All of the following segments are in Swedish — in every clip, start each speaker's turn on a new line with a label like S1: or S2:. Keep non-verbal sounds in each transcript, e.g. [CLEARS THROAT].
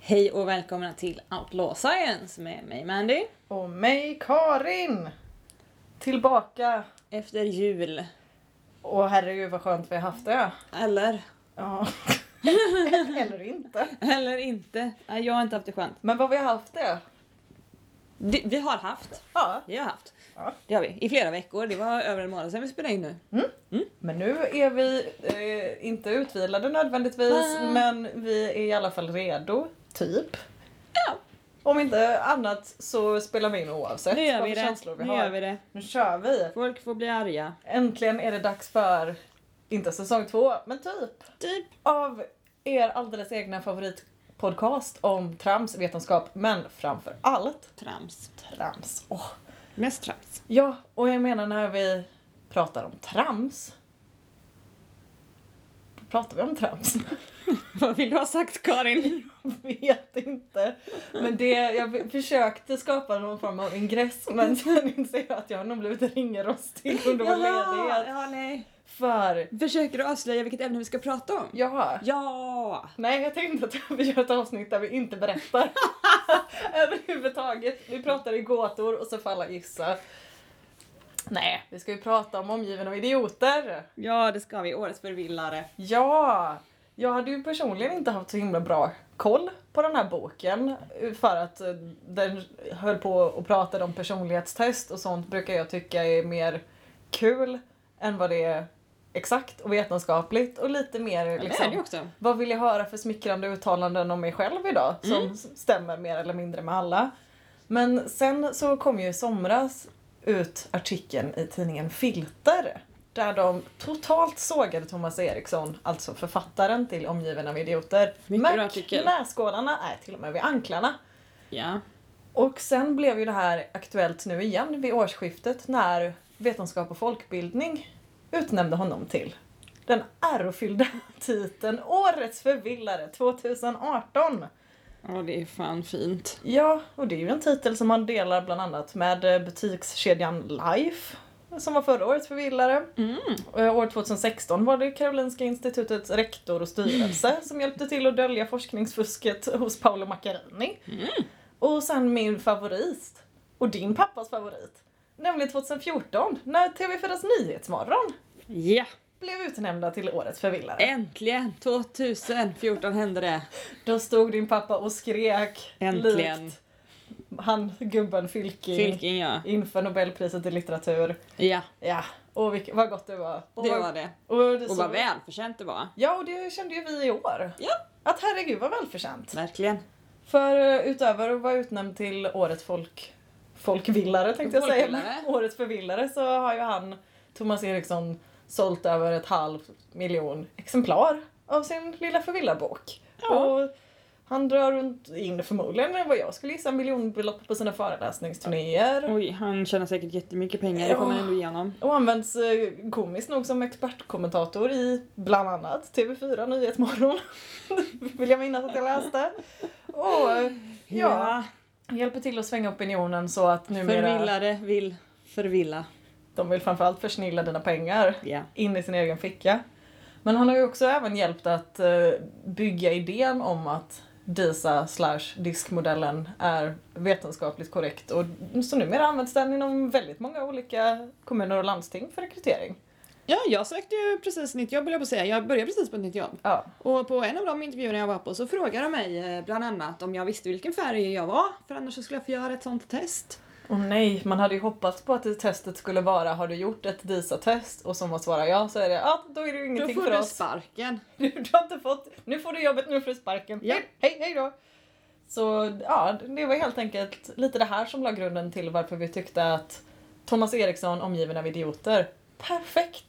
S1: Hej och välkomna till Outlaw Science med mig Mandy.
S2: Och mig Karin! Tillbaka!
S1: Efter jul.
S2: Åh herregud vad skönt vi har haft det.
S1: Eller?
S2: Ja. [LAUGHS] Eller inte.
S1: Eller inte. Nej, jag har inte haft det skönt.
S2: Men vad vi har haft det.
S1: Det, vi har haft.
S2: Ja.
S1: Vi har haft.
S2: Ja.
S1: Det har vi. I flera veckor. Det var över en månad sedan vi spelade in nu.
S2: Men nu är vi eh, inte utvilade nödvändigtvis
S1: Ah.
S2: men vi är i alla fall redo. Typ.
S1: Ja.
S2: Om inte annat så spelar vi in oavsett
S1: Nu gör
S2: vad
S1: vi
S2: för
S1: det.
S2: känslor vi
S1: nu
S2: har.
S1: gör vi det.
S2: Nu kör vi!
S1: Folk får bli arga.
S2: Äntligen är det dags för, inte säsong två, men typ.
S1: Typ.
S2: av er alldeles egna favoritpodcast om trams, vetenskap, men framför allt
S1: Trams.
S2: trams. Åh.
S1: Mest trams. [LAUGHS]
S2: Ja, och jag menar när vi pratar om trams. Pratar vi om trams? [LAUGHS]
S1: Vad vill du ha sagt [LAUGHS] Karin?
S2: vet inte. Men det, jag försökte skapa någon form av ingress men sen inser jag att jag har nog blivit ringrostig under vår ledighet.
S1: ja, nej.
S2: För,
S1: Försöker du avslöja vilket ämne vi ska prata om?
S2: ja.
S1: Ja!
S2: Nej, jag tänkte att [LAUGHS] vi gör ett avsnitt där vi inte [LAUGHS] berättar. Överhuvudtaget. Vi pratar i gåtor och så får alla gissa. Nej, vi ska ju prata om omgiven av idioter.
S1: Ja, det ska vi. Årets förvillare.
S2: Ja! Jag hade ju personligen inte haft så himla bra koll på den här boken för att eh, den höll på och pratade om personlighetstest och sånt brukar jag tycka är mer kul än vad det är exakt och vetenskapligt och lite mer
S1: Ja, Det är det
S2: liksom,
S1: också.
S2: vad vill jag höra för smickrande uttalanden om mig själv idag som
S1: Mm.
S2: s- stämmer mer eller mindre med alla. Men sen så kom ju i somras ut artikeln i tidningen Filter där de totalt sågade Thomas Eriksson, alltså författaren till Omgiven av idioter.
S1: Mycket bra
S2: Med
S1: artikel.
S2: knäskålarna, nej till och med vid anklarna.
S1: Ja.
S2: Och sen blev ju det här aktuellt nu igen vid årsskiftet när Vetenskap och folkbildning utnämnde honom till den ärofyllda [LAUGHS] titeln Årets förvillare 2018.
S1: Ja, det är fan fint.
S2: Ja, och det är ju en titel som han delar bland annat med eh, butikskedjan Life som var förra årets förvillare. Eh, År 2016 var det Karolinska institutets rektor och styrelse som hjälpte till att dölja forskningsfusket hos Paolo Macchiarini. Och sen min favorit, och din pappas favorit, nämligen 2014 när TV4s Nyhetsmorgon
S1: Ja,
S2: blev utnämnda till årets förvillare.
S1: äntligen! 2014 hände det.
S2: Då stod din pappa och skrek
S1: Äntligen.
S2: likt han gubben Fylking.
S1: Fylking ja.
S2: inför Nobelpriset i litteratur.
S1: Ja,
S2: Ja, och vilk, vad gott det var. Och
S1: det
S2: vad-
S1: var det.
S2: Och, det
S1: Och
S2: så-
S1: vad välförtjänt det var.
S2: Ja, och det kände ju vi i år.
S1: Ja.
S2: Att herregud vad välförtjänt.
S1: Verkligen.
S2: För eh, utöver att vara utnämnd till årets folk, folkvillare tänkte jag säga,
S1: Folkvillare.
S2: men årets förvillare så har ju han, Thomas Eriksson, sålt över ett halvt miljon exemplar av sin lilla förvillarbok.
S1: Ja.
S2: Och han drar runt in förmodligen vad jag skulle gissa miljonbelopp på sina föreläsningsturnéer.
S1: Oj, han tjänar säkert jättemycket pengar. Det kommer han ändå igenom.
S2: Och används eh, komiskt nog som expertkommentator i bland annat TV4 Nyhetsmorgon. [LAUGHS] Vill jag minnas att jag läste. Och eh, ja, hjälper till att svänga opinionen så att numera
S1: Förvillare vill förvilla.
S2: de vill framförallt försnilla dina pengar
S1: Ja.
S2: in i sin egen ficka. Men han har ju också även hjälpt att eh, bygga idén om att DISA slash diskmodellen är vetenskapligt korrekt och så numera används den inom väldigt många olika kommuner och landsting för rekrytering.
S1: Ja, jag sökte ju precis nytt jobb höll jag på att säga. Jag började precis på ett nytt jobb.
S2: Ja.
S1: Och på en av de intervjuerna jag var på så frågade de mig eh, bland annat om jag visste vilken färg jag var. För annars så skulle jag få göra ett sånt test.
S2: Och nej, man hade ju hoppats på att det testet skulle vara har du gjort ett DISA-test? Och som man svarar ja så är det ja, då är det ju
S1: Då
S2: ingenting
S1: får
S2: för
S1: du
S2: oss.
S1: sparken.
S2: [LAUGHS] Du, du har inte fått, nu får du jobbet, nu får du sparken.
S1: Ja.
S2: Hej, hej, hej då! Så ja, det var helt enkelt lite det här som la grunden till varför vi tyckte att Thomas Eriksson, omgiven av idioter, perfekt!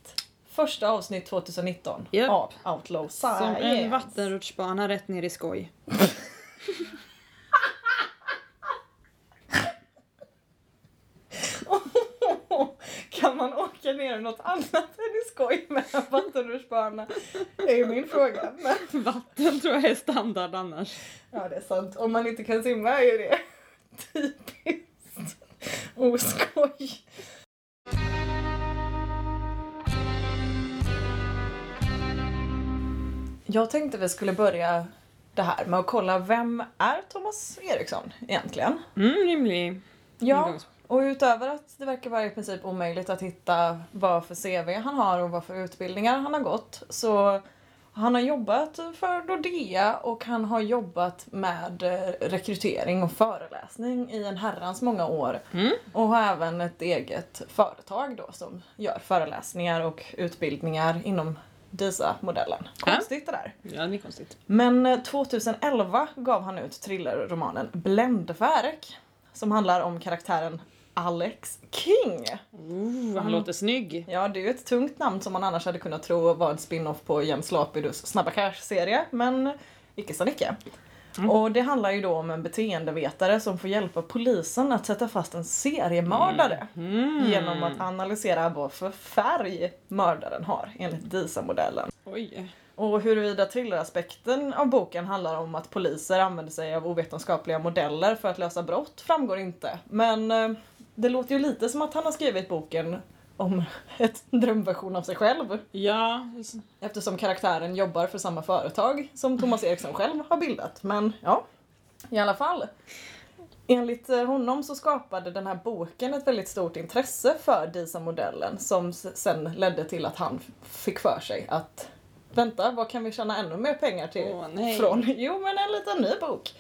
S2: Första avsnitt 2019
S1: Japp.
S2: av Outlaw Science.
S1: Som en vattenrutschbana rätt ner i skoj. [LAUGHS]
S2: [LAUGHS] Kan man åka ner i något annat än i skoj med en vattenrutschbana? Det är min fråga. Men...
S1: Vatten tror jag är standard annars.
S2: Ja, det är sant. Om man inte kan simma är ju det typiskt oskoj. Jag tänkte vi skulle börja det här med att kolla vem är Thomas Eriksson egentligen?
S1: Mm, rimlig.
S2: Ja,
S1: ingångs-
S2: och utöver att det verkar vara i princip omöjligt att hitta vad för CV han har och vad för utbildningar han har gått så han har jobbat för Nordea och han har jobbat med eh, rekrytering och föreläsning i en herrans många år.
S1: Mm.
S2: Och har även ett eget företag då som gör föreläsningar och utbildningar inom DISA-modellen.
S1: Ja.
S2: Konstigt det där.
S1: Ja, det är konstigt.
S2: Men eh, 2011 gav han ut thrillerromanen Bländverk som handlar om karaktären Alex King.
S1: Ooh, han låter snygg.
S2: Ja, det är ju ett tungt namn som man annars hade kunnat tro var en spin-off på Jens Lapidus Snabba Cash-serie, men icke sa Nicke. Och det handlar ju då om en beteendevetare som får hjälpa polisen att sätta fast en seriemördare
S1: Mm.
S2: genom att analysera vad för färg mördaren har enligt DISA-modellen.
S1: Oj.
S2: Och huruvida thrilleraspekten av boken handlar om att poliser använder sig av ovetenskapliga modeller för att lösa brott framgår inte. Men eh, det låter ju lite som att han har skrivit boken om [LAUGHS] ett drömversion av sig själv.
S1: Ja,
S2: Eftersom karaktären jobbar för samma företag som Thomas Eriksson själv har bildat. Men ja, i alla fall. Enligt eh, honom så skapade den här boken ett väldigt stort intresse för DISA-modellen som s- sen ledde till att han f- fick för sig att vänta, vad kan vi tjäna ännu mer pengar till?
S1: Åh, nej.
S2: Från? [LAUGHS] Jo, men en liten ny bok.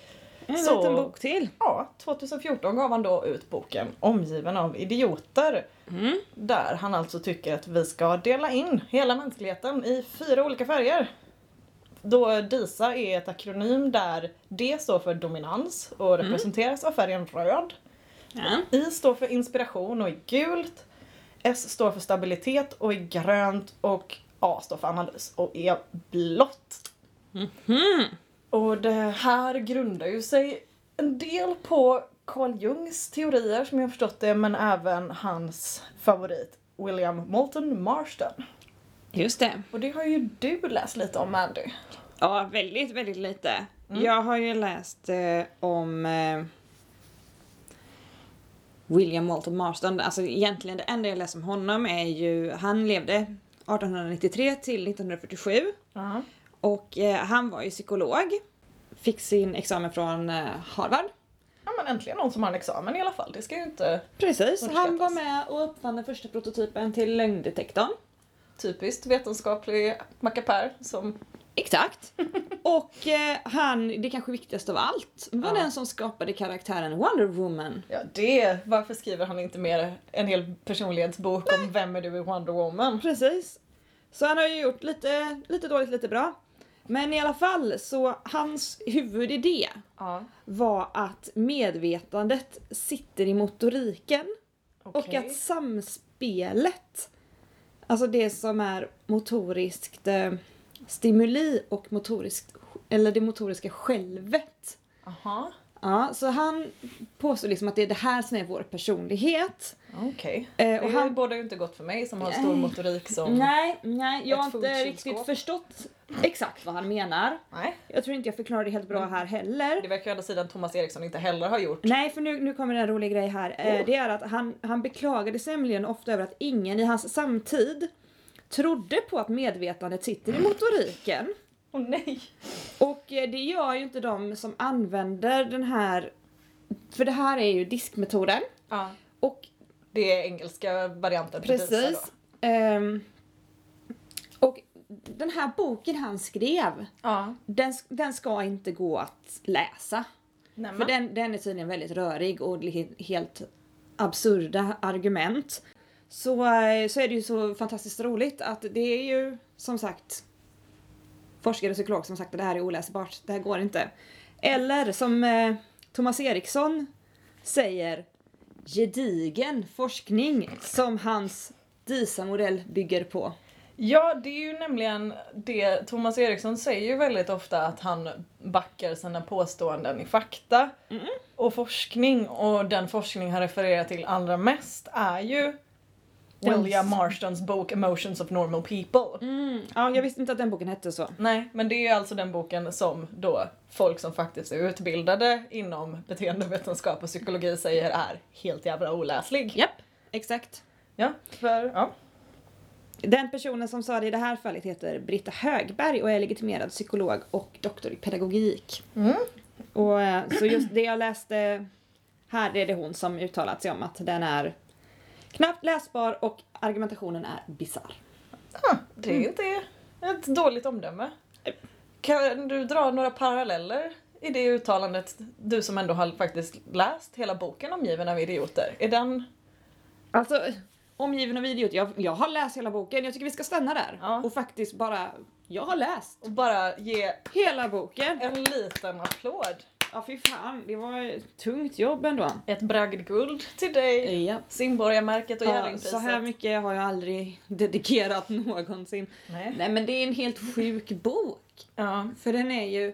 S1: en
S2: Så-
S1: liten bok till.
S2: Ja, 2014 gav han då ut boken Omgiven av idioter.
S1: Mm.
S2: Där han alltså tycker att vi ska dela in hela mänskligheten i fyra olika färger. Då DISA är ett akronym där D står för dominans och representeras av färgen röd.
S1: Ja.
S2: I står för inspiration och är gult. S står för stabilitet och är grönt. Och A står för analys och är blått. Och det här grundar ju sig en del på Carl Jungs teorier som jag förstått det men även hans favorit William Moulton Marston.
S1: Just det.
S2: Och det har ju du läst lite om Andy.
S1: Ja, väldigt, väldigt lite. Jag har ju läst eh, om eh, William Walter Marston. Alltså egentligen det enda jag läst om honom är ju, han levde 1893 till 1947
S2: Ja.
S1: och eh, han var ju psykolog. Fick sin examen från eh, Harvard.
S2: Ja men äntligen någon som har en examen i alla fall. Det ska ju inte
S1: Precis, han
S2: Underskattas.
S1: var med och uppfann den första prototypen till lögndetektorn.
S2: typiskt vetenskaplig mackapär som
S1: Exakt. [LAUGHS] Och eh, han, det kanske viktigaste av allt, var
S2: Ja.
S1: den som skapade karaktären Wonder Woman.
S2: Ja, det. Varför skriver han inte mer en hel personlighetsbok om vem är du i Wonder Woman?
S1: Precis. Så han har ju gjort lite, lite dåligt, lite bra. Men i alla fall så hans huvudidé
S2: Ja.
S1: var att medvetandet sitter i motoriken och
S2: Okej.
S1: att samspelet, alltså det som är motoriskt eh, stimuli och motoriskt, eller det motoriska självet.
S2: Aha.
S1: Ja, så han påstår liksom att det är det här som är vår personlighet.
S2: Okej.
S1: Eh,
S2: Det
S1: och
S2: han...
S1: han
S2: borde ju inte gott för mig som har stor
S1: Nej.
S2: motorik som...
S1: Nej, nej, jag har
S2: ett
S1: inte riktigt
S2: funktionsskåp.
S1: förstått exakt vad han menar.
S2: Nej.
S1: Jag tror inte jag förklarar det helt bra här
S2: Det
S1: heller.
S2: verkar ju å andra sidan Thomas Eriksson inte heller har gjort.
S1: Nej, för nu, nu kommer en rolig grej här. Eh,
S2: Oh.
S1: Det är att han, han beklagade sig nämligen ofta över att ingen i hans samtid trodde på att medvetandet sitter i motoriken.
S2: Åh nej!
S1: Och eh, det gör ju inte de som använder den här, för det här är ju diskmetoden.
S2: Ja.
S1: Och
S2: Det är engelska varianten alltså. på Disa då.
S1: Precis. Ehm, och den här boken han skrev,
S2: Ja.
S1: den, den ska inte gå att läsa. För
S2: Nämen.
S1: den, den är tydligen väldigt rörig och li- helt absurda argument. Så, eh, så är det ju så fantastiskt roligt att det är ju som sagt forskare och psykolog som sagt att det här är oläsbart, det här går inte. Eller som eh, Thomas Eriksson säger gedigen forskning som hans DISA-modell bygger på.
S2: Ja, det är ju nämligen det Thomas Eriksson säger ju väldigt ofta att han backar sina påståenden i fakta och forskning och den forskning han refererar till allra mest är ju
S1: Den-
S2: William Marstons bok Emotions of Normal People.
S1: Mm, Ja, jag visste inte att den boken hette så.
S2: Nej, men det är ju alltså den boken som då folk som faktiskt är utbildade inom beteendevetenskap och psykologi säger är helt jävla oläslig.
S1: Japp, exakt.
S2: Ja, för ja.
S1: Den personen som sa det i det här fallet heter Britta Högberg och är legitimerad psykolog och doktor i pedagogik.
S2: Mm.
S1: Och, eh, så just det jag läste här är det hon som uttalat sig om att den är knappt läsbar och argumentationen är bisarr.
S2: Ah, det
S1: Mm.
S2: är inte ett dåligt omdöme. Kan du dra några paralleller i det uttalandet? Du som ändå har faktiskt läst hela boken Omgiven av idioter. Är den...
S1: Alltså, omgiven av idiot. Jag, jag har läst hela boken. Jag tycker vi ska stanna där.
S2: Ja.
S1: Och faktiskt bara, jag har läst
S2: Och bara ge
S1: hela boken.
S2: en liten applåd.
S1: Ja, fy fan. Det var ett tungt jobb ändå.
S2: Ett bragdguld till dig.
S1: Ja.
S2: Simborgarmärket och
S1: Ja,
S2: Jerringpriset.
S1: så här mycket har jag aldrig dedikerat [LAUGHS] någonsin.
S2: Nej.
S1: Nej men det är en helt sjuk bok.
S2: Ja.
S1: Mm. För den är ju...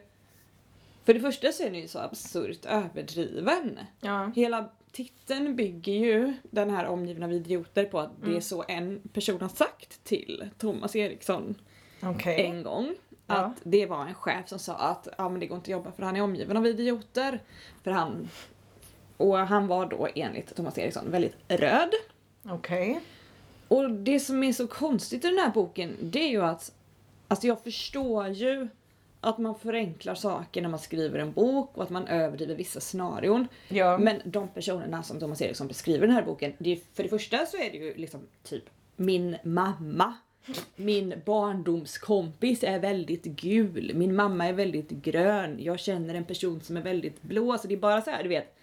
S1: För det första så är den ju så absurt överdriven.
S2: ja.
S1: Hela titeln bygger ju den här omgivna av idioter på att det är
S2: Mm.
S1: så en person har sagt till Thomas Eriksson
S2: Okej.
S1: en gång.
S2: Ja.
S1: Att det var en chef som sa att ja, men det går inte att jobba för han är omgiven av idioter. För han, och han var då enligt Thomas Eriksson väldigt röd.
S2: Okej.
S1: Och det som är så konstigt i den här boken det är ju att alltså jag förstår ju att man förenklar saker när man skriver en bok och att man överdriver vissa scenarion.
S2: Ja.
S1: Men de personerna som Thomas Eriksson beskriver i den här boken, det är, för det första så är det ju liksom typ min mamma. Min barndomskompis är väldigt gul, min mamma är väldigt grön, jag känner en person som är väldigt blå. Så det är bara så här, du vet,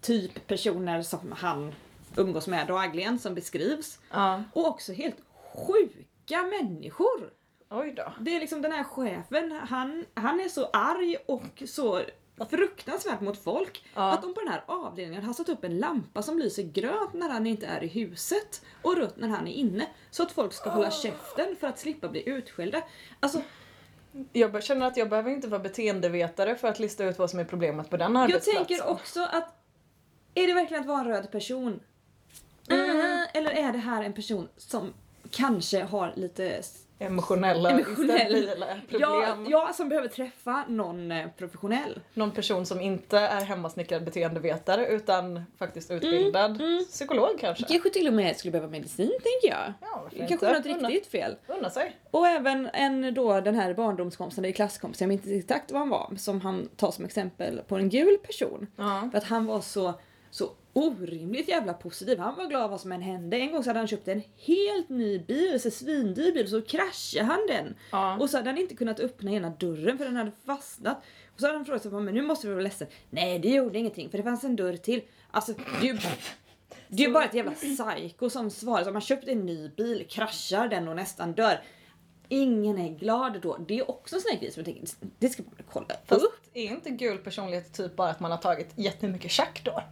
S1: typ personer som han umgås med dagligen som beskrivs.
S2: ja.
S1: Och också helt sjuka människor!
S2: Oj då.
S1: Det är liksom den här chefen, han, han är så arg och så fruktansvärt mot folk
S2: Ja.
S1: att de på den här avdelningen har satt upp en lampa som lyser grönt när han inte är i huset och rött när han är inne så att folk ska hålla käften för att slippa bli utskällda. Alltså,
S2: Jag be- känner att jag behöver inte vara beteendevetare för att lista ut vad som är problemet på den
S1: jag
S2: arbetsplatsen.
S1: tänker också att är det verkligen att vara en röd person?
S2: Mm.
S1: Eh, Eller är det här en person som kanske har lite
S2: Emotionella,
S1: Emotionell.
S2: instabila problem.
S1: Jag, jag som behöver träffa någon eh, professionell.
S2: Någon person som inte är hemmasnickrad beteendevetare utan faktiskt utbildad
S1: Mm,
S2: psykolog kanske.
S1: Kanske till och med skulle behöva medicin tänker jag.
S2: Ja, varför
S1: Kanske
S2: inte?
S1: något riktigt fel.
S2: Unna, unna sig.
S1: Och även en då den här barndomskompisen, eller klasskompisen, jag minns inte exakt vad han var, som han tar som exempel på en gul person.
S2: Ja.
S1: För att han var så, så orimligt jävla positiv. Han var glad vad som än hände. En gång så hade han köpt en helt ny bil, så svindyr bil, så kraschade han den.
S2: Ja.
S1: Och så hade han inte kunnat öppna ena dörren för den hade fastnat. Och så hade han frågat sig, men nu måste vi vara ledsen. Nej det gjorde ingenting för det fanns en dörr till. Alltså du... Det är ju bara ett jävla psyko som svarar. Så om man köpt en ny bil, kraschar den och nästan dör. Ingen är glad då. Det är också en sån här grej som jag tänker, det ska man väl kolla
S2: Fast
S1: upp.
S2: är inte gul personlighet typ bara att man har tagit jättemycket tjack då?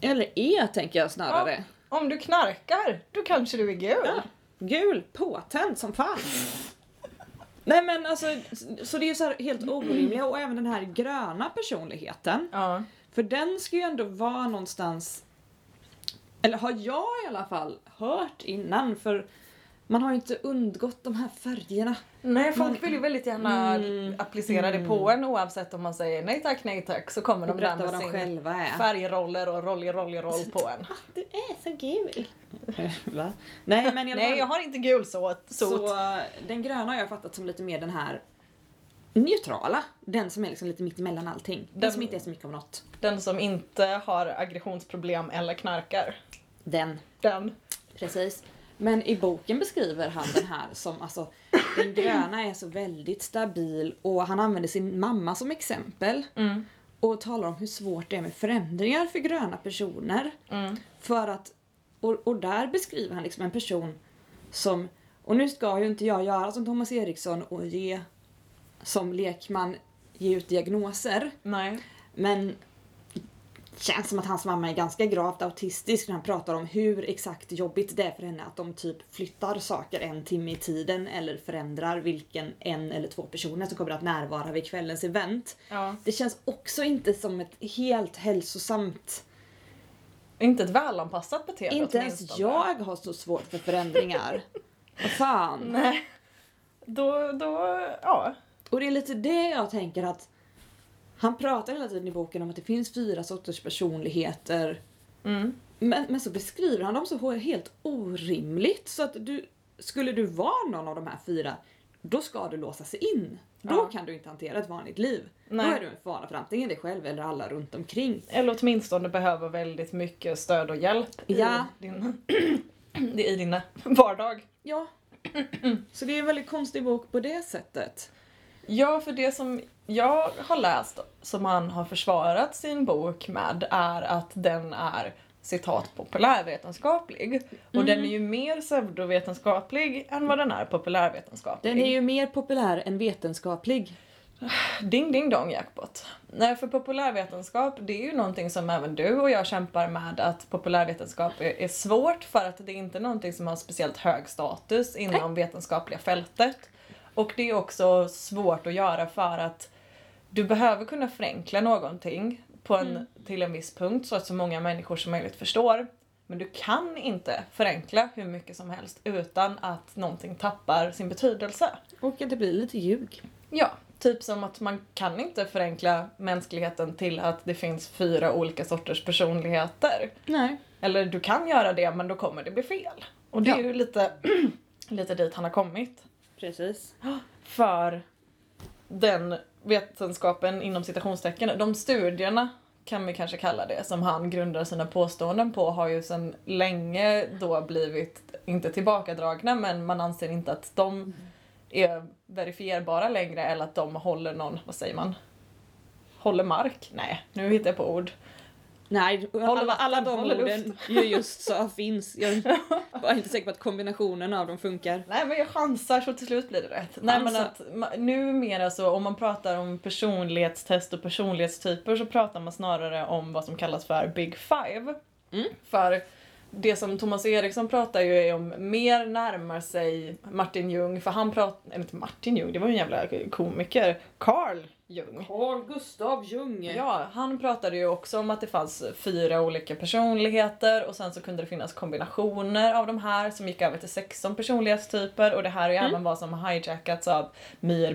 S1: Eller är tänker jag snarare.
S2: Ja, om du knarkar, då kanske du är gul.
S1: Ja, gul, påtänd som fan. Nej men alltså, så det är ju så här helt orimliga och även den här gröna personligheten.
S2: Ja.
S1: För den ska ju ändå vara någonstans, eller har jag i alla fall hört innan för man har ju inte undgått de här färgerna.
S2: Nej, folk vill ju väldigt gärna
S1: Mm.
S2: applicera det på en oavsett om man säger nej tack, nej tack så kommer
S1: Och
S2: de där med
S1: berätta vad de
S2: sin
S1: själva är.
S2: färgroller och rolly rolly roll på en.
S1: Ah, Du är så gul. [LAUGHS] Va? Nej men i alla
S2: Nej, jag
S1: fall,
S2: har inte gul såt. sot.
S1: så eh, den gröna har jag fattat som lite mer den här neutrala. Den som är liksom lite mittemellan allting. Den,
S2: Den-
S1: som inte är så mycket av något.
S2: Den som inte har aggressionsproblem eller knarkar.
S1: Den.
S2: Den.
S1: Precis. Men i boken beskriver han den här som alltså, den gröna är så väldigt stabil och han använder sin mamma som exempel och talar om hur svårt det är med förändringar för gröna personer. För att, och, och där beskriver han liksom en person som, och nu ska ju inte jag göra som Thomas Eriksson och ge, som lekman, ge ut diagnoser.
S2: Nej.
S1: Men känns som att hans mamma är ganska gravt autistisk när han pratar om hur exakt jobbigt det är för henne att de typ flyttar saker en timme i tiden eller förändrar vilken en eller två personer som kommer att närvara vid kvällens event.
S2: Ja.
S1: Det känns också inte som ett helt hälsosamt...
S2: Inte ett välanpassat beteende
S1: inte ens
S2: åtminstone.
S1: jag har så svårt för förändringar. Vad fan.
S2: Nej. Då, då, ja.
S1: Och det är lite det jag tänker att han pratar hela tiden i boken om att det finns fyra sorters personligheter.
S2: Mm.
S1: Men, men så beskriver han dem så helt orimligt så att du, skulle du vara någon av de här fyra, då ska du låsas in. Då
S2: Ja.
S1: kan du inte hantera ett vanligt liv.
S2: Nej.
S1: Då är du en fara för antingen dig själv eller alla runt omkring.
S2: Eller åtminstone behöver väldigt mycket stöd och hjälp
S1: Ja.
S2: i, din, [CLEARS THROAT] i din vardag.
S1: Ja. [CLEARS THROAT] Så det är en väldigt konstig bok på det sättet.
S2: Ja, för det som jag har läst som han har försvarat sin bok med är att den är citat populärvetenskaplig. Och
S1: Mm.
S2: den är ju mer pseudovetenskaplig än vad den är populärvetenskaplig.
S1: Den är ju mer populär än vetenskaplig.
S2: Ding ding dong jackpot. Nej, för populärvetenskap det är ju någonting som även du och jag kämpar med att populärvetenskap är, är svårt för att det är inte någonting som har speciellt hög status inom vetenskapliga fältet. Och det är också svårt att göra för att du behöver kunna förenkla någonting på en, till en viss punkt så att så många människor som möjligt förstår. Men du kan inte förenkla hur mycket som helst utan att någonting tappar sin betydelse.
S1: Och att det blir lite ljug.
S2: Ja, typ som att man kan inte förenkla mänskligheten till att det finns fyra olika sorters personligheter.
S1: Nej.
S2: Eller du kan göra det men då kommer det bli fel. Och det
S1: Ja.
S2: är ju lite, [CLEARS THROAT] lite dit han har kommit.
S1: Precis.
S2: För den vetenskapen inom citationstecken, de studierna kan vi kanske kalla det, som han grundar sina påståenden på har ju sedan länge då blivit, inte tillbakadragna, men man anser inte att de är verifierbara längre eller att de håller någon, vad säger man? Håller mark? Nej, nu hittar jag på ord.
S1: Nej, alla,
S2: vatten,
S1: alla de
S2: håller luft.
S1: orden jag just sa finns. Jag [LAUGHS] är inte säker på att kombinationen av dem funkar.
S2: Nej men jag chansar så till slut blir det rätt. Nej men
S1: Chansa.
S2: att ma- numera så om man pratar om personlighetstest och personlighetstyper så pratar man snarare om vad som kallas för Big Five.
S1: Mm.
S2: För det som Thomas Eriksson pratar ju är om mer närmar sig Martin Ljung för han pratar, eller inte Martin Ljung, det var ju en jävla komiker, Carl Jung.
S1: Carl Gustav Jung. Ja.
S2: Ja, han pratade ju också om att det fanns fyra olika personligheter och sen så kunde det finnas kombinationer av de här som gick över till 16 personlighetstyper och det här är ju även vad som har hijackats av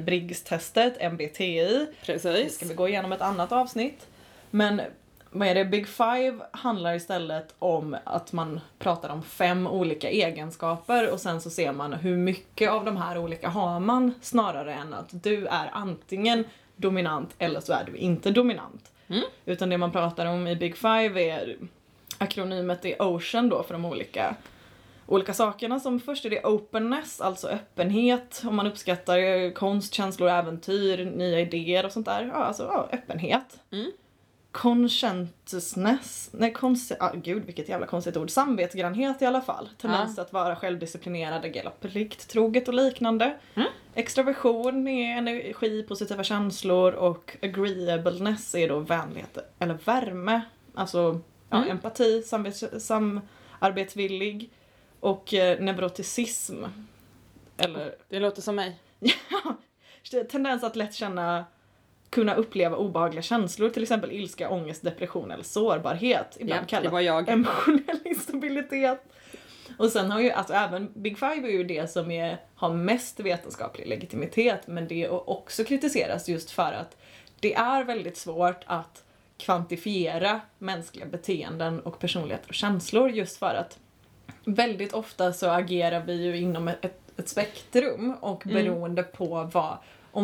S2: Myhr-Briggs-testet, MBTI. Det
S1: Precis.
S2: ska vi gå igenom ett annat avsnitt. Men vad är det? Big Five handlar istället om att man pratar om fem olika egenskaper och sen så ser man hur mycket av de här olika har man snarare än att du är antingen dominant eller så är du inte dominant.
S1: Mm.
S2: Utan det man pratar om i Big Five är akronymet är Ocean då för de olika olika sakerna som först är det openness, alltså öppenhet, om man uppskattar eh, konst, känslor, äventyr, nya idéer och sånt där. Ja, alltså ja, öppenhet.
S1: Mm.
S2: Conscientiousness, nej kons- ah, gud vilket jävla konstigt ord, samvetsgrannhet i alla fall. Tendens att vara självdisciplinerad, agera plikttroget och liknande.
S1: Mm.
S2: Extroversion är energi, positiva känslor och agreeableness är då vänlighet eller värme. Alltså ja,
S1: Mm.
S2: empati, samvets- samarbetsvillig och eh, neuroticism. Eller
S1: Det låter som mig.
S2: tendens att lätt känna kunna uppleva obehagliga känslor, till exempel ilska, ångest, depression eller sårbarhet. Ibland
S1: Ja, det
S2: kallat
S1: var jag.
S2: emotionell [LAUGHS] instabilitet. Och sen har ju, alltså även Big Five är ju det som är, har mest vetenskaplig legitimitet men det är också kritiseras just för att det är väldigt svårt att kvantifiera mänskliga beteenden och personligheter och känslor just för att väldigt ofta så agerar vi ju inom ett, ett spektrum och beroende på vad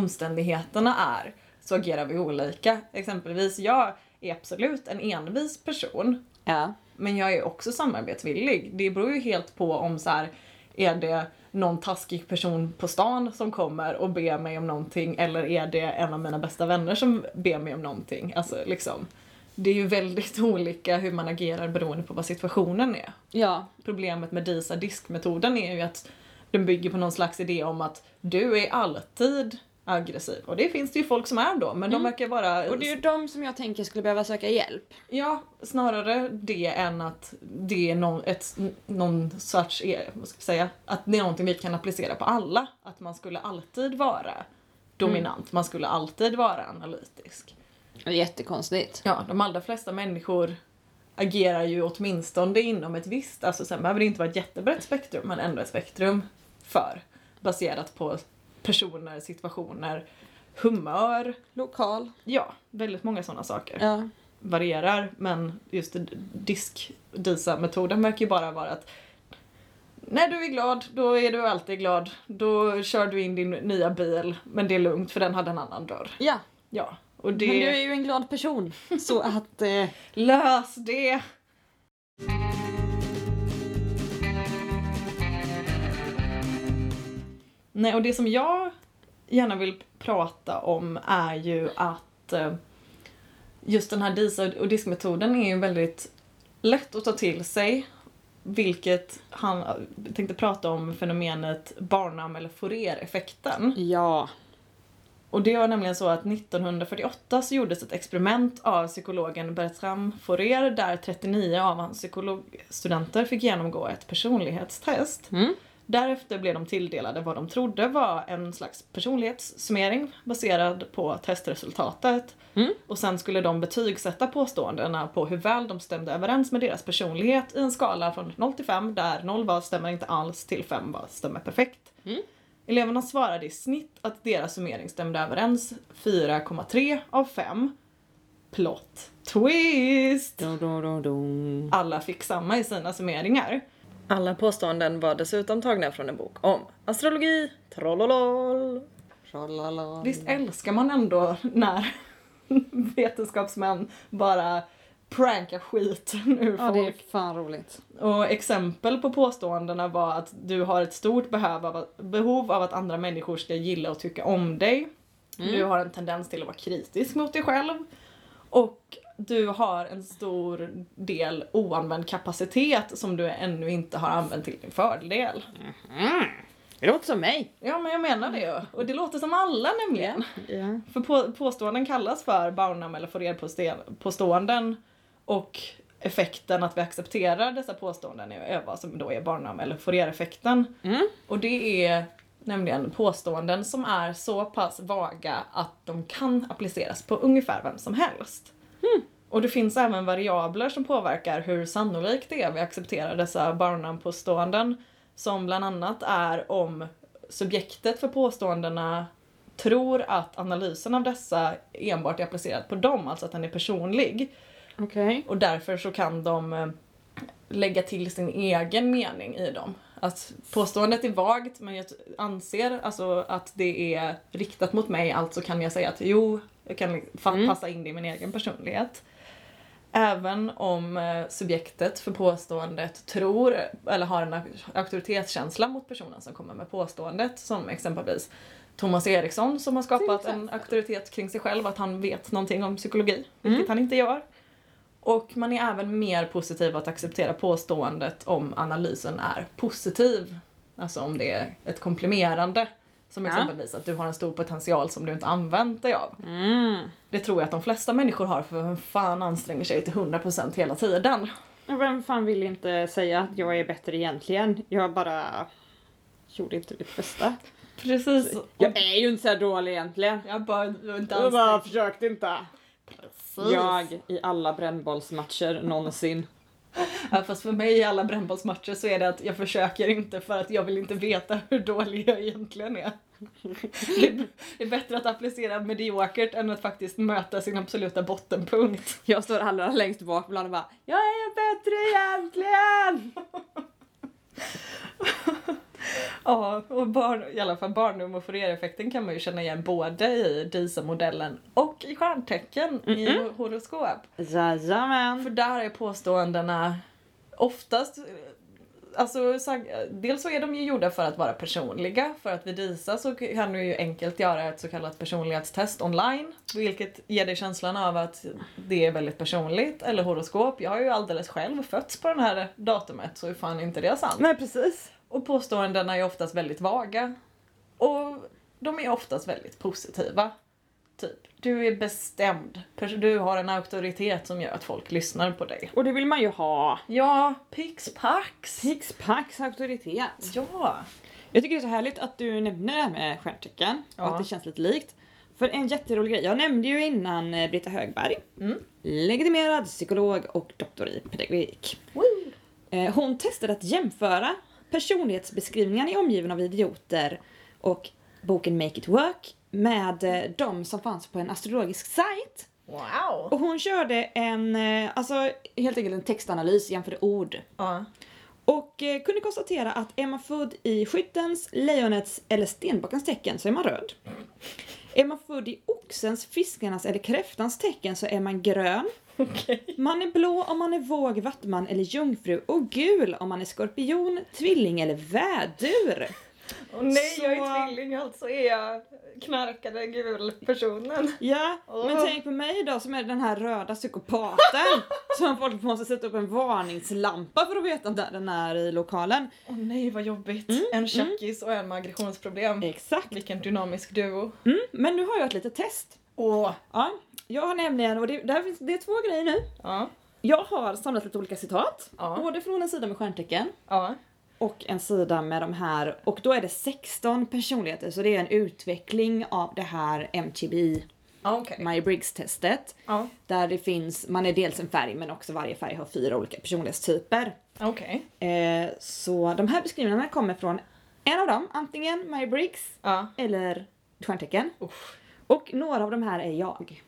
S2: omständigheterna är så agerar vi olika. Exempelvis jag är absolut en envis person
S1: Ja.
S2: men jag är också samarbetsvillig. Det beror ju helt på om så här, är det någon taskig person på stan som kommer och ber mig om någonting eller är det en av mina bästa vänner som ber mig om någonting. Alltså liksom. Det är ju väldigt [LAUGHS] olika hur man agerar beroende på vad situationen är.
S1: Ja.
S2: Problemet med DISA diskmetoden är ju att den bygger på någon slags idé om att du är alltid aggressiv. Och det finns det ju folk som är då, men de verkar vara
S1: Mm. Och det är ju de som jag tänker skulle behöva söka hjälp.
S2: Ja, snarare det än att det är någon, ett, någon sorts, eh, vad ska jag säga, att det är någonting vi kan applicera på alla. Att man skulle alltid vara dominant, man skulle alltid vara analytisk.
S1: Det är jättekonstigt.
S2: Ja, de allra flesta människor agerar ju åtminstone inom ett visst, alltså sen behöver det inte vara ett jättebrett spektrum, men ändå ett spektrum för, baserat på personer, situationer, humör,
S1: Lokal.
S2: ja, väldigt många sådana saker
S1: Ja.
S2: varierar men just disk-DISA-metoden verkar ju bara vara att När du är glad, då är du alltid glad. Då kör du in din nya bil, men det är lugnt för den hade en annan dörr.
S1: Ja,
S2: Ja, och
S1: men du
S2: det...
S1: är ju en glad person. [LAUGHS] Så att... Eh,
S2: Lös det! Nej, och det som jag gärna vill prata om är ju att eh, just den här dis och diskmetoden är ju väldigt lätt att ta till sig. Vilket han jag tänkte prata om fenomenet barnam eller Fourier-effekten.
S1: ja.
S2: Och det var nämligen så att 1948 så gjordes ett experiment av psykologen Bertram Fourier där 39 av hans psykologstudenter fick genomgå ett personlighetstest.
S1: Mm.
S2: Därefter blev de tilldelade vad de trodde var en slags personlighetssummering baserad på testresultatet.
S1: Mm.
S2: Och sen skulle de betygsätta påståendena på hur väl de stämde överens med deras personlighet i en skala från 0 till 5 där 0 var stämmer inte alls till 5 var stämmer perfekt. Eleverna svarade i snitt att deras summering stämde överens 4,3 av 5. Plot twist!
S1: Dun, dun, dun, dun.
S2: Alla fick samma i sina summeringar. Alla påståenden var dessutom tagna från en bok om astrologi, trollolol.
S1: Tralala.
S2: Visst älskar man ändå när [LAUGHS] vetenskapsmän bara prankar skiten ur
S1: Ja,
S2: folk.
S1: det är fan roligt.
S2: Och exempel på påståendena var att du har ett stort behov av att, behov av att andra människor ska gilla och tycka om dig.
S1: Mm.
S2: Du har en tendens till att vara kritisk mot dig själv. Och du har en stor del oanvänd kapacitet som du ännu inte har använt till din fördel.
S1: Det låter som mig.
S2: Ja men jag menar det ju. Och det låter som alla nämligen.
S1: Ja.
S2: För på, påståenden kallas för Barnum eller Fourier-påståenden och effekten att vi accepterar dessa påståenden är öva som då är Barnum eller Fourier-effekten.
S1: Mm.
S2: Och det är nämligen påståenden som är så pass vaga att de kan appliceras på ungefär vem som helst. Och det finns även variabler som påverkar hur sannolikt det är vi accepterar dessa Barnum-påståenden. Som bland annat är om subjektet för påståendena tror att analysen av dessa enbart är applicerad på dem, alltså att den är personlig.
S1: Okej.
S2: Och därför så kan de eh, lägga till sin egen mening i dem. Att påståendet är vagt men jag t- anser alltså att det är riktat mot mig, alltså kan jag säga att jo, jag kan fa-
S1: Mm.
S2: passa in det i min egen personlighet. Även om eh, subjektet för påståendet tror eller har en au- auktoritetskänsla mot personen som kommer med påståendet som exempelvis Thomas Eriksson som har skapat
S1: exempel.
S2: en auktoritet kring sig själv att han vet någonting om psykologi, vilket han inte gör. Och man är även mer positiv att acceptera påståendet om analysen är positiv. Alltså om det är ett komplimerande. Som
S1: Ja.
S2: exempelvis att du har en stor potential som du inte använt dig av.
S1: Mm.
S2: Det tror jag att de flesta människor har för vem fan anstränger sig till 100% hela tiden.
S1: Och Vem fan vill inte säga att jag är bättre egentligen? Jag bara gjorde inte mitt bästa.
S2: Precis. Jag,
S1: Jag är ju inte så här dålig egentligen.
S2: jag bara, jag är inte
S1: Jag
S2: ansträngd.
S1: bara försökte inte.
S2: Precis.
S1: Jag i alla brännbollsmatcher någonsin.
S2: Ja, fast för mig i alla brännbollsmatcher så är det att jag försöker inte för att jag vill inte veta [LAUGHS] hur dålig jag egentligen är. Det är, det är bättre att applicera mediokert än att faktiskt möta sin absoluta bottenpunkt.
S1: Jag står allra längst bak bland och bara Jag är bättre egentligen!
S2: Ja, och barn, i alla fall barnum och Fourier-effekten kan man ju känna igen både i DISA-modellen och i stjärntecken i horoskop. För
S1: Jajamän.
S2: där är påståendena oftast eh, Alltså, sag- eh, dels så är de ju gjorda för att vara personliga, för att vid DISA så k- kan du ju enkelt göra ett så kallat personlighetstest online, vilket ger dig känslan av att det är väldigt personligt, eller horoskop. Jag har ju alldeles själv fötts på det här datumet, så hur fan är inte det sant?
S1: Nej precis.
S2: Och påståendena är oftast väldigt vaga. Och de är oftast väldigt positiva. Typ, du är bestämd. Pers- Du har en auktoritet som gör att folk lyssnar på dig.
S1: Och det vill man ju ha.
S2: Ja, pix pax.
S1: Pix Pax auktoritet.
S2: Ja.
S1: Jag tycker det är så härligt att du nämner det här med stjärntecken
S2: Ja.
S1: och att det känns lite likt. För en jätterolig grej, jag nämnde ju innan eh, Britta Högberg,
S2: Mm.
S1: legitimerad psykolog och doktor i pedagogik. Eh, Hon testade att jämföra personlighetsbeskrivningen i Omgiven av idioter och boken Make It Work med eh, de som fanns på en astrologisk sajt.
S2: Wow.
S1: Och hon körde en, eh, alltså helt enkelt en textanalys jämför ord.
S2: Ja.
S1: Och eh, kunde konstatera att är man född i skyttens, lejonets eller stenbockens tecken så är man röd. Är man född i oxens, fiskarnas eller kräftans tecken så är man grön.
S2: Okej.
S1: Man är blå om man är våg, vattman eller jungfru och gul om man är skorpion, tvilling eller vädur.
S2: Och nej, jag
S1: Så-
S2: är tvilling alltså är jag knarkade gulpersonen.
S1: Ja, men
S2: Åh.
S1: tänk på mig då som är den här röda psykopaten [LAUGHS] som folk måste sätta upp en varningslampa för att veta där den är i lokalen.
S2: Åh nej vad jobbigt. en tjackis och en med aggressionsproblem.
S1: Exakt.
S2: Vilken dynamisk duo.
S1: Mm, men nu har jag ett litet test.
S2: Åh!
S1: Ja, jag har nämligen, och det, där finns, det är två grejer nu.
S2: Ja.
S1: Jag har samlat lite olika citat.
S2: Ja.
S1: Både från en sida med stjärntecken
S2: Ja.
S1: och en sida med de här. Och då är det 16 personligheter, så det är en utveckling av det här MTBI,
S2: Ja okej.
S1: Maya Briggs-testet.
S2: Ja.
S1: Där det finns, man är dels en färg men också varje färg har fyra olika personlighetstyper.
S2: Okej.
S1: Eh, så de här beskrivningarna kommer från en av dem, antingen Maya Briggs
S2: Ja.
S1: eller stjärntecken.
S2: Uff.
S1: Och några av de här är jag.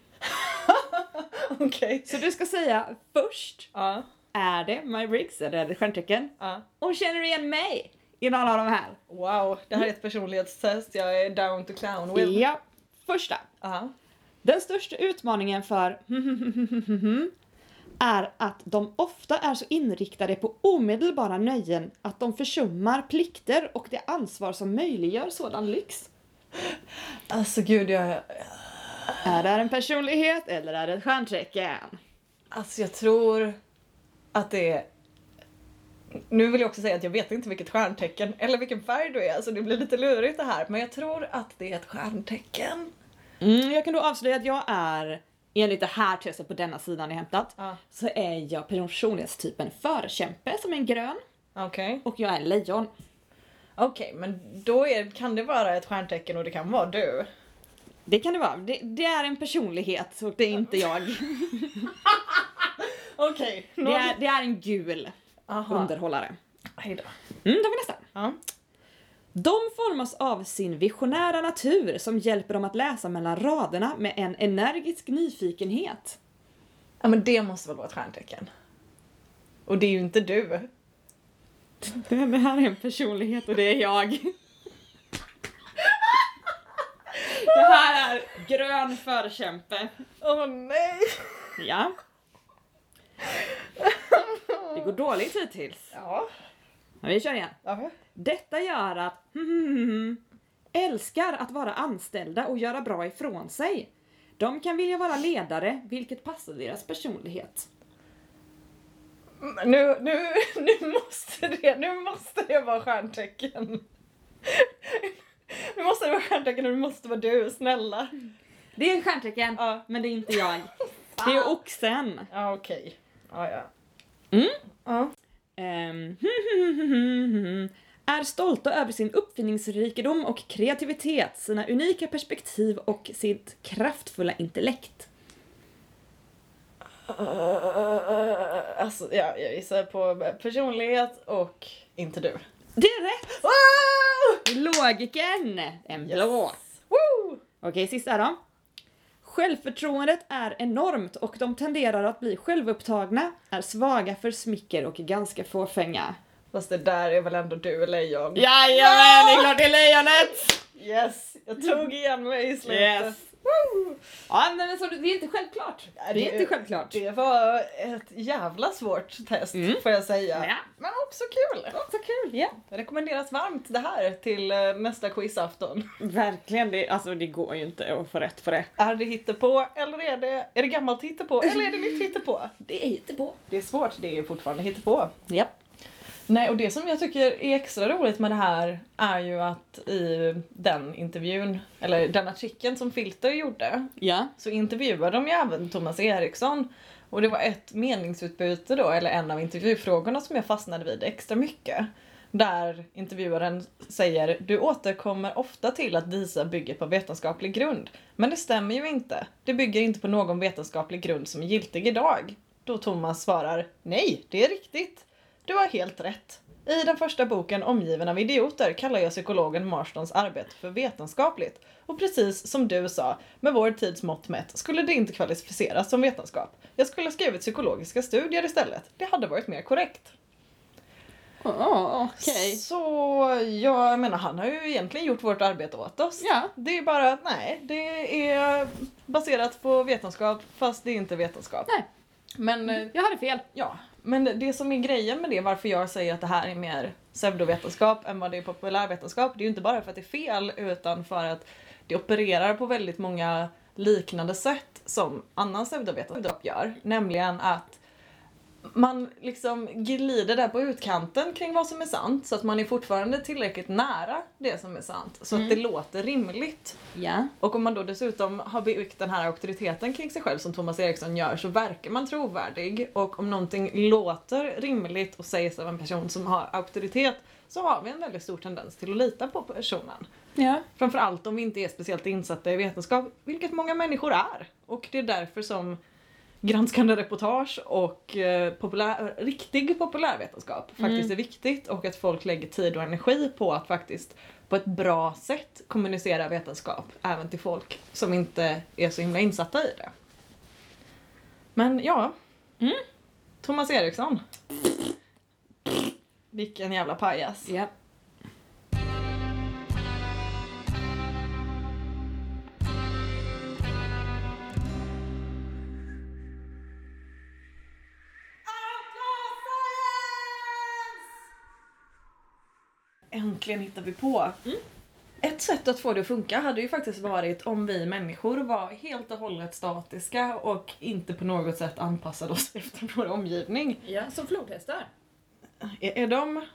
S2: [LAUGHS] Okej.
S1: Så du ska säga först,
S2: Ja.
S1: är det Maya Briggs eller är det stjärntecken?
S2: Ja.
S1: Och känner du igen mig i någon av de här?
S2: Wow, det här är ett personlighetstest jag är down to clown with.
S1: Ja. Första.
S2: Ja.
S1: Den största utmaningen för [LAUGHS] är att de ofta är så inriktade på omedelbara nöjen att de försummar plikter och det ansvar som möjliggör sådan lyx.
S2: Alltså gud, jag...
S1: Är det en personlighet eller är det ett stjärntecken?
S2: Alltså jag tror att det är... Nu vill jag också säga att jag vet inte vilket stjärntecken eller vilken färg du är, så det blir lite lurigt det här. Men jag tror att det är ett stjärntecken.
S1: Mm, jag kan då avslöja att jag är, enligt det här testet på denna sidan jag hämtat,
S2: Ja.
S1: så är jag personlighetstypen förkämpe som är en grön
S2: Okej.
S1: och jag är en lejon.
S2: Okej, men då är, kan det vara ett stjärntecken och det kan vara du.
S1: Det kan det vara. Det, det är en personlighet och det är inte jag.
S2: Okej.
S1: Det är, det är en gul
S2: Aha.
S1: underhållare.
S2: Hejdå.
S1: Mm, då har vi nästa.
S2: Ja.
S1: De formas av sin visionära natur som hjälper dem att läsa mellan raderna med en energisk nyfikenhet.
S2: ja, men det måste väl vara ett stjärntecken. Och det är ju inte du.
S1: Det här är en personlighet och det är jag. [LAUGHS] Det här är grön förkämpe.
S2: Åh nej!
S1: Ja. Det går dåligt hittills.
S2: Ja.
S1: Men vi kör igen.
S2: ja.
S1: Detta gör att [LAUGHS] hmm, älskar att vara anställda och göra bra ifrån sig. De kan vilja vara ledare, vilket passar deras personlighet.
S2: Men Nu, nu, [LAUGHS] nu, måste det, nu måste det vara stjärntecken. Nu måste det vara stjärntecken och det måste vara du, snälla.
S1: Det är stjärntecken,
S2: Ja.
S1: men det är inte [LAUGHS] jag. Det är oxen.
S2: Ja, okej. Ja, ja.
S1: Mm.
S2: Ja.
S1: Ehm, [LAUGHS] är stolta över sin uppfinningsrikedom och kreativitet, sina unika perspektiv och sitt kraftfulla intellekt.
S2: Eh, Alltså, ja, jag gissar på personlighet och inte du.
S1: Det är rätt!
S2: Wow!
S1: Logikern! En
S2: Yes.
S1: blå.
S2: Woo!
S1: Okej, sista då. Självförtroendet är enormt och de tenderar att bli självupptagna, är svaga för smicker och är ganska fåfänga.
S2: Fast det där är väl ändå du, lejon?
S1: Jajamän, det är klart det är lejonet!
S2: Yes! Jag tog igen mig i slutet.
S1: Yes.
S2: Woo!
S1: Ja, men så, det är inte självklart.
S2: Ja,
S1: Det är inte självklart.
S2: Det var ett jävla svårt test
S1: Mm.
S2: får jag säga.
S1: Ja.
S2: Men också kul!
S1: Så kul, ja.
S2: Det rekommenderas varmt det här till eh, nästa quizafton.
S1: Verkligen, det, alltså det går ju inte att få rätt på det.
S2: Är det hittepå eller är det, är det gammalt hittepå eller är det nytt hittepå?
S1: Det är inte på.
S2: Det är svårt, det är fortfarande hittepå.
S1: Japp.
S2: Nej, och det som jag tycker är extra roligt med det här är ju att i den intervjun, eller den artikeln som Filter gjorde,
S1: Ja.
S2: så intervjuade de ju även Thomas Eriksson. Och det var ett meningsutbyte då, eller en av intervjufrågorna som jag fastnade vid extra mycket. Där intervjuaren säger du återkommer ofta till att DISA bygger på vetenskaplig grund. Men det stämmer ju inte. Det bygger inte på någon vetenskaplig grund som är giltig idag. Då Thomas svarar nej, det är riktigt. Du har helt rätt. I den första boken Omgiven av idioter kallar jag psykologen Marstons arbete för vetenskapligt. Och precis som du sa, med vår tids mått mätt skulle det inte kvalificeras som vetenskap. Jag skulle ha skrivit psykologiska studier istället. Det hade varit mer korrekt.
S1: Oh, Okej.
S2: Så jag menar han har ju egentligen gjort vårt arbete åt oss.
S1: Ja.
S2: Det är bara att nej, det är baserat på vetenskap fast det är inte vetenskap.
S1: Nej.
S2: Men eh,
S1: Jag hade fel.
S2: ja, men det- det som är grejen med det, varför jag säger att det här är mer pseudovetenskap än vad det är populärvetenskap, det är ju inte bara för att det är fel utan för att det opererar på väldigt många liknande sätt som annan pseudovetenskap gör. Nämligen att man liksom glider där på utkanten kring vad som är sant så att man är fortfarande tillräckligt nära det som är sant så att det låter rimligt.
S1: Ja.
S2: Och om man då dessutom har byggt den här auktoriteten kring sig själv som Thomas Eriksson gör så verkar man trovärdig och om någonting låter rimligt och sägs av en person som har auktoritet så har vi en väldigt stor tendens till att lita på personen.
S1: Ja.
S2: Framförallt om vi inte är speciellt insatta i vetenskap, vilket många människor är. Och det är därför som granskande reportage och eh, populär, riktig populärvetenskap faktiskt är viktigt och att folk lägger tid och energi på att faktiskt på ett bra sätt kommunicera vetenskap även till folk som inte är så himla insatta i det. Men ja,
S1: Mm.
S2: Thomas Eriksson. Vilken jävla pajas.
S1: Ja.
S2: Äntligen hittar vi på. Ett sätt att få det att funka hade ju faktiskt varit om vi människor var helt och hållet statiska och inte på något sätt anpassade oss [LAUGHS] efter vår omgivning.
S1: ja. Som flodhästar.
S2: Är, är, de,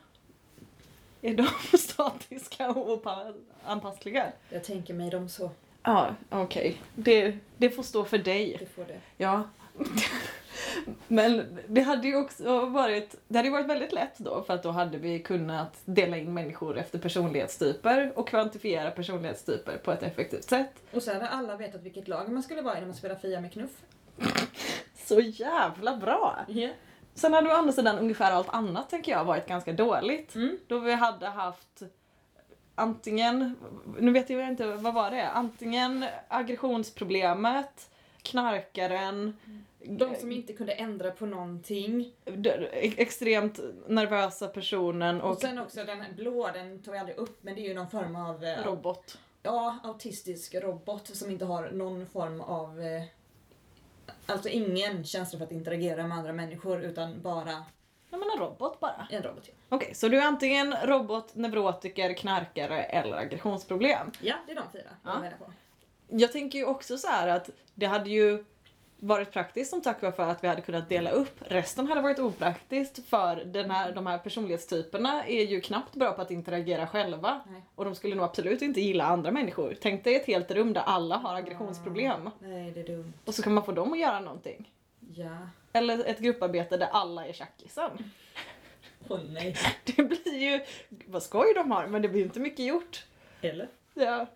S2: är de [LAUGHS] statiska och opa- anpassliga?
S1: Jag tänker mig dem så.
S2: Ja, okej. Det, det får stå för dig.
S1: Det får det.
S2: Ja. Men det hade ju också varit, det hade ju varit väldigt lätt då för att då hade vi kunnat dela in människor efter personlighetstyper och kvantifiera personlighetstyper på ett effektivt sätt.
S1: Och så hade alla vetat vilket lag man skulle vara i när man spelar Fia med knuff.
S2: Så jävla bra!
S1: Ja.
S2: Sen hade å andra sidan ungefär allt annat tänker jag varit ganska dåligt.
S1: Mm.
S2: Då vi hade haft antingen, nu vet jag inte, vad var det? Antingen aggressionsproblemet, knarkaren,
S1: De som inte kunde ändra på någonting.
S2: d- extremt nervösa personen och,
S1: Och sen också den här blå, den tar vi aldrig upp men det är ju någon form av eh,
S2: robot.
S1: ja, autistisk robot som inte har någon form av eh, Alltså ingen känsla för att interagera med andra människor utan bara
S2: Ja men en robot bara.
S1: en robot. ja.
S2: Okej, så du är antingen robot, neurotiker, knarkare eller aggressionsproblem.
S1: Ja, det är de fyra
S2: Ja.
S1: jag menar på.
S2: Jag tänker ju också så här att det hade ju varit praktiskt som tack vare för att vi hade kunnat dela upp. Resten hade varit opraktiskt för den här, de här personlighetstyperna är ju knappt bra på att interagera själva.
S1: Nej.
S2: Och de skulle nog absolut inte gilla andra människor. Tänk dig ett helt rum där alla har aggressionsproblem.
S1: Nej, det är dumt.
S2: Och så kan man få dem att göra någonting.
S1: Ja.
S2: Eller ett grupparbete där alla är tjackisen.
S1: Åh nej.
S2: Det blir ju, vad skoj de har, men det blir ju inte mycket gjort.
S1: Eller?
S2: Ja.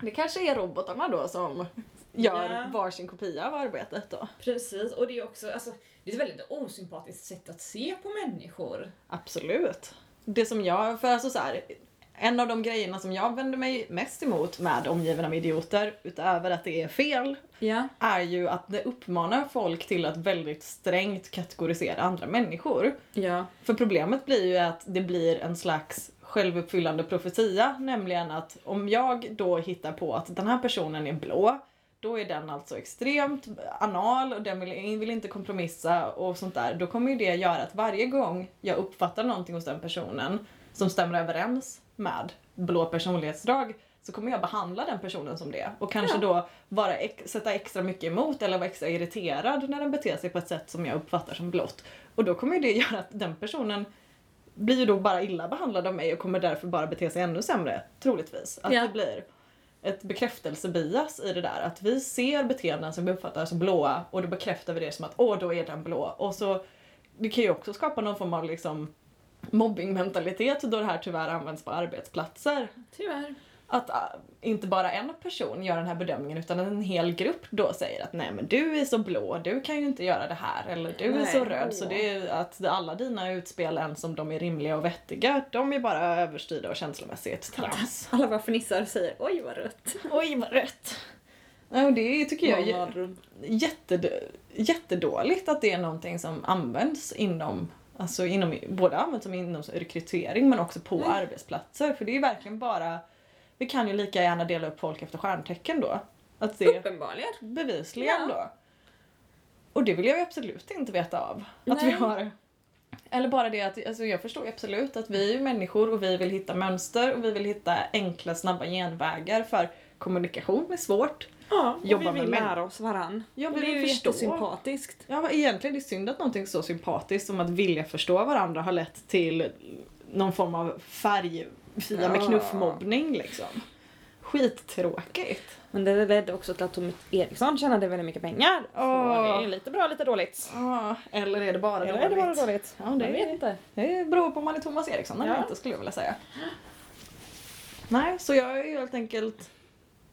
S2: Det kanske är robotarna då som gör
S1: Ja.
S2: varsin kopia av arbetet då.
S1: Precis, och det är också alltså, det är ett väldigt osympatiskt sätt att se på människor.
S2: Absolut. Det som jag, för alltså så här, en av de grejerna som jag vänder mig mest emot med omgivna med idioter, utöver att det är fel,
S1: Ja.
S2: är ju att det uppmanar folk till att väldigt strängt kategorisera andra människor.
S1: Ja.
S2: För problemet blir ju att det blir en slags självuppfyllande profetia, nämligen att om jag då hittar på att den här personen är blå, då är den alltså extremt anal och den vill, vill inte kompromissa och sånt där. Då kommer ju det göra att varje gång jag uppfattar någonting hos den personen som stämmer överens med blå personlighetsdrag så kommer jag behandla den personen som det och kanske
S1: Ja.
S2: då vara ex- sätta extra mycket emot eller vara extra irriterad när den beter sig på ett sätt som jag uppfattar som blått. Och då kommer ju det [LAUGHS] göra att den personen blir ju då bara illa behandlad av mig och kommer därför bara bete sig ännu sämre, troligtvis. Att
S1: Ja.
S2: det blir ett bekräftelsebias i det där. Att vi ser beteenden som vi uppfattar som blåa och då bekräftar vi det som att åh, då är den blå. Och så, det kan ju också skapa någon form av liksom mobbingmentalitet då det här tyvärr används på arbetsplatser.
S1: Tyvärr.
S2: Att ah, inte bara en person gör den här bedömningen utan en hel grupp då säger att nej men du är så blå, du kan ju inte göra det här eller du är
S1: Nej,
S2: så röd så
S1: åh.
S2: det är att alla dina utspel ens om de är rimliga och vettiga, de är bara överstyrda och känslomässigt trams.
S1: Alla bara fnissar och säger oj vad rött.
S2: Oj vad rätt. Ja, och det tycker jag är jättedå- jättedåligt att det är någonting som används inom Alltså inom, både använt som inom rekrytering men också på
S1: Nej.
S2: arbetsplatser. För det är ju verkligen bara, vi kan ju lika gärna dela upp folk efter stjärntecken då. Att det
S1: Uppenbarligen.
S2: bevisligen
S1: Ja.
S2: då. Och det vill jag ju absolut inte veta av. Att vi
S1: Nej.
S2: har... Eller bara det att, alltså jag förstår ju absolut att vi är ju människor och vi vill hitta mönster och vi vill hitta enkla snabba genvägar för kommunikation är svårt.
S1: Ja, och
S2: Jobba
S1: vi
S2: med
S1: vill
S2: män.
S1: lära oss varann.
S2: Ja,
S1: Och
S2: vi
S1: det är ju
S2: vill förstå.
S1: jättesympatiskt.
S2: Ja, men egentligen är det synd att någonting så sympatiskt som att vilja förstå varandra har lett till någon form av färgfia med
S1: Ja.
S2: knuffmobbning liksom. Skittråkigt.
S1: Men det ledde också till att Tom Eriksson tjänade väldigt mycket pengar. Så
S2: Åh.
S1: det är lite bra, lite dåligt.
S2: Ah, eller är det bara
S1: Eller är det bara dåligt?
S2: Ja, det
S1: Jag
S2: är-
S1: vet inte.
S2: Det beror på om man är Thomas Eriksson eller
S1: Ja.
S2: inte skulle jag vilja säga. Nej, så jag är helt enkelt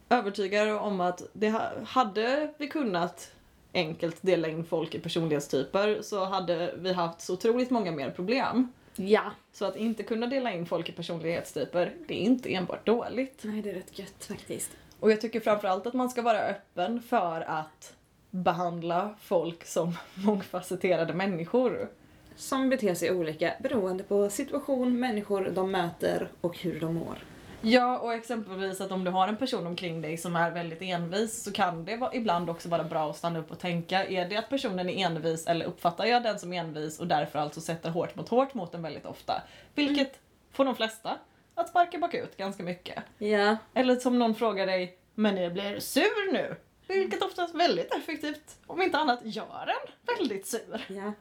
S2: övertygad om att det ha- hade vi kunnat enkelt dela in folk i personlighetstyper så hade vi haft så otroligt många mer problem.
S1: Ja.
S2: Så att inte kunna dela in folk i personlighetstyper, det är inte enbart dåligt.
S1: Nej, det är rätt gött faktiskt.
S2: Och jag tycker framförallt att man ska vara öppen för att behandla folk som [LAUGHS] mångfacetterade människor.
S1: Som beter sig olika beroende på situation, människor de möter och hur de mår.
S2: Ja, och exempelvis att om du har en person omkring dig som är väldigt envis så kan det va- ibland också vara bra att stanna upp och tänka, är det att personen är envis eller uppfattar jag den som envis och därför alltså sätter hårt mot hårt mot den väldigt ofta? Vilket får de flesta att sparka bakut ganska mycket.
S1: Ja.
S2: Eller som någon frågar dig, men jag blir sur nu? Vilket oftast är väldigt effektivt, om inte annat gör en väldigt sur.
S1: ja.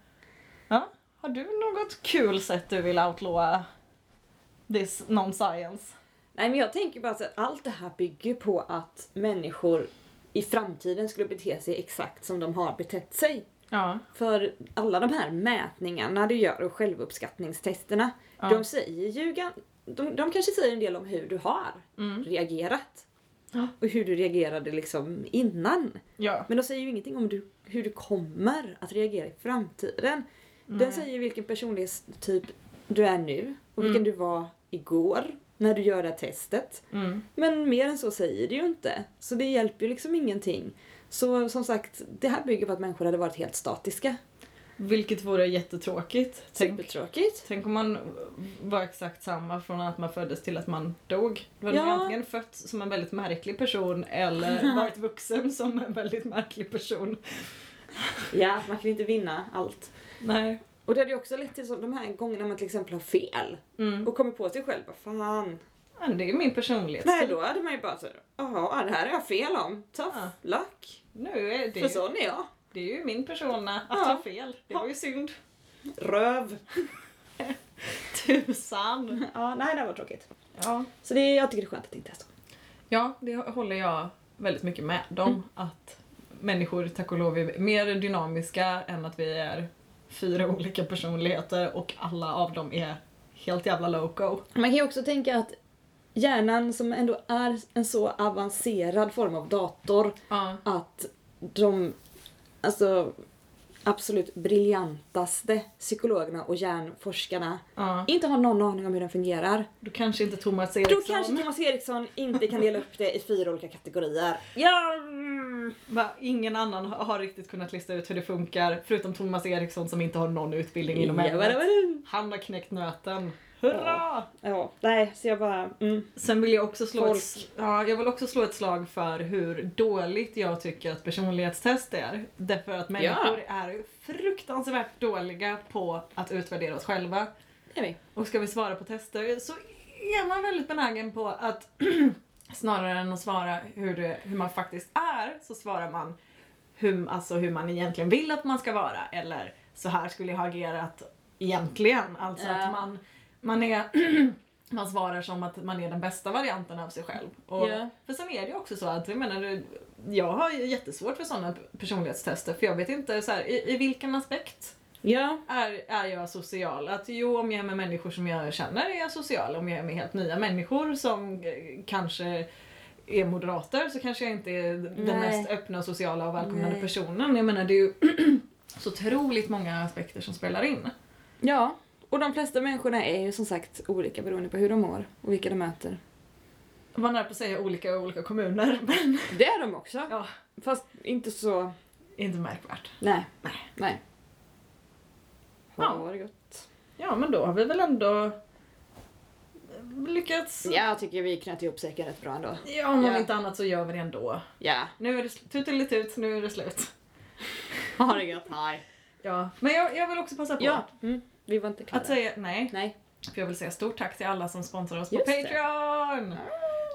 S2: Ja. Har du något kul sätt du vill outlåa this non-science?
S1: Nej men jag tänker bara så att allt det här bygger på att människor i framtiden skulle bete sig exakt som de har betett sig.
S2: Ja.
S1: För alla de här mätningarna du gör och självuppskattningstesterna,
S2: Ja.
S1: de säger ju gan- de, de kanske säger en del om hur du har
S2: Mm.
S1: reagerat.
S2: Ja.
S1: Och hur du reagerade liksom innan.
S2: Ja.
S1: Men de säger ju ingenting om du, hur du kommer att reagera i framtiden.
S2: Mm.
S1: Den säger vilken personlighetstyp du är nu och vilken du var igår när du gör det här testet.
S2: Mm.
S1: Men mer än så säger det ju inte. Så det hjälper ju liksom ingenting. Så som sagt, det här bygger på att människor hade varit helt statiska.
S2: Vilket vore jättetråkigt. Tänk,
S1: Supertråkigt.
S2: tänk om man var exakt samma från att man föddes till att man dog. Då hade man
S1: Ja.
S2: antingen fötts som en väldigt märklig person
S1: [LAUGHS]
S2: eller varit vuxen som en väldigt märklig person.
S1: Ja, man kan inte vinna allt.
S2: Nej.
S1: Och det hade ju också lett till så, de här gångerna man till exempel har fel
S2: Mm.
S1: och kommer på sig själv vad fan.
S2: Ja, Det är min personlighet.
S1: Nej, då hade man ju bara så här, jaha, det här är jag fel om. Tough
S2: Ja.
S1: luck.
S2: Nu är det,
S1: För sån är jag.
S2: det är ju min persona att
S1: Ja.
S2: ha fel. Det var ju
S1: [LAUGHS]
S2: synd.
S1: Röv.
S2: Tusan!
S1: Ja, nej det var tråkigt.
S2: Ja.
S1: Så det, jag tycker det är skönt att det inte är så.
S2: Ja, det håller jag väldigt mycket med om.
S1: Mm.
S2: Att människor, tack och lov, är mer dynamiska än att vi är fyra olika personligheter och alla av dem är helt jävla loco.
S1: Man kan ju också tänka att hjärnan som ändå är en så avancerad form av dator
S2: Ja.
S1: att de alltså, absolut briljantaste psykologerna och hjärnforskarna
S2: ja.
S1: inte har någon aning om hur den fungerar.
S2: Då kanske inte Thomas
S1: Då
S2: Eriksson...
S1: kanske Thomas Eriksson inte kan dela upp det i fyra olika kategorier. Ja! mm.
S2: Va, ingen annan har har riktigt kunnat lista ut hur det funkar, förutom Thomas Eriksson som inte har någon utbildning inom
S1: Ja, vad-
S2: ämnet.
S1: vad-
S2: Han har knäckt nöten. Hurra!
S1: Ja, nej, så jag bara... Mm.
S2: Sen vill jag också slå,
S1: Folk.
S2: ett, sl- ja, jag vill också slå ett slag för hur dåligt jag tycker att personlighetstest är. Därför att människor är ju fruktansvärt dåliga på att utvärdera oss själva.
S1: Det är vi.
S2: Och ska vi svara på tester så är man väldigt benägen på att [CLEARS THROAT] snarare än att svara hur, det, hur man faktiskt är så svarar man hur, alltså hur man egentligen vill att man ska vara eller så här skulle jag ha agerat egentligen. Alltså
S1: Ja.
S2: att man, man är [CLEARS THROAT] man svarar som att man är den bästa varianten av sig själv. Och,
S1: Ja.
S2: För sen är det ju också så att jag menar, jag har ju jättesvårt för sådana personlighetstester för jag vet inte så här, i, i vilken aspekt
S1: Ja.
S2: är, är jag social? Att jo, om jag är med människor som jag känner är jag social. Om jag är med helt nya människor som eh, kanske är moderater så kanske jag inte är den
S1: Nej.
S2: mest öppna, sociala och välkomnande
S1: Nej.
S2: personen. Jag menar, det är ju [CLEARS THROAT] så otroligt många aspekter som spelar in.
S1: Ja, och de flesta människorna är ju som sagt olika beroende på hur de mår och vilka de möter.
S2: Man är på att säga olika i olika kommuner, [LAUGHS] men
S1: Det är de också.
S2: ja,
S1: Fast inte så...
S2: inte märkvärt.
S1: Nej.
S2: Nej.
S1: Nej.
S2: Ja.
S1: Ja, det gott.
S2: Ja men då har vi väl ändå lyckats.
S1: Jag tycker vi knöt ihop säcken rätt bra ändå.
S2: Ja om
S1: Ja.
S2: inte annat så gör vi det ändå.
S1: Ja.
S2: Nu är det sl- tutelitut, nu är det slut.
S1: [LAUGHS] Ha det gött, hej.
S2: Ja, men jag, jag vill också passa på
S1: Ja, mm, vi var inte klara.
S2: att säga nej.
S1: Nej.
S2: För jag vill säga stort tack till alla som sponsrar oss på
S1: Just det.
S2: Patreon!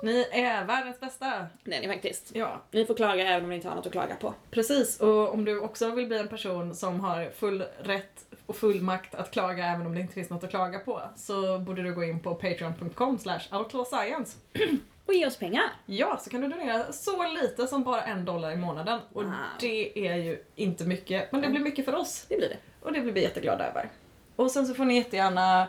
S2: Ni är världens bästa!
S1: Det är ni faktiskt.
S2: Ah. Ja,
S1: Ni får klaga även om ni inte har något att klaga på.
S2: precis. Och om du också vill bli en person som har full rätt och full makt att klaga även om det inte finns något att klaga på så borde du gå in på patreon.com slash outlawscience.
S1: Och ge oss pengar.
S2: Ja, så kan du donera så lite som bara en dollar i månaden. Och
S1: Wow.
S2: det är ju inte mycket, men det blir mycket för oss.
S1: Det blir det.
S2: Och det blir vi jätteglada över. Och sen så får ni jättegärna,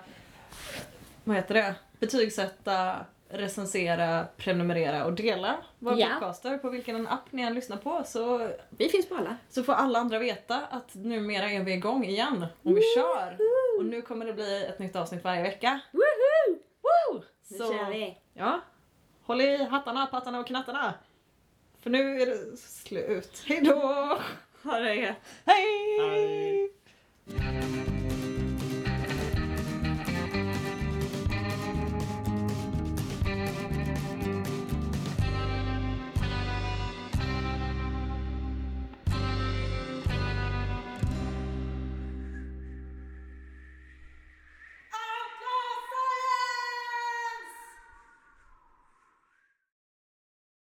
S2: vad heter det, betygsätta, recensera, prenumerera och dela våra
S1: Ja.
S2: podcaster på vilken app ni än lyssnar på så,
S1: Vi finns på alla.
S2: så får alla andra veta att numera är vi igång igen och vi kör! Och nu kommer det bli ett nytt avsnitt varje vecka.
S1: Woohoo!
S2: Woo!
S1: Nu
S2: Så,
S1: kör vi.
S2: ja, håll i hattarna, pattarna och knattarna! För nu är det slut. Hejdå! Ha det gött. Hej!
S1: Hej.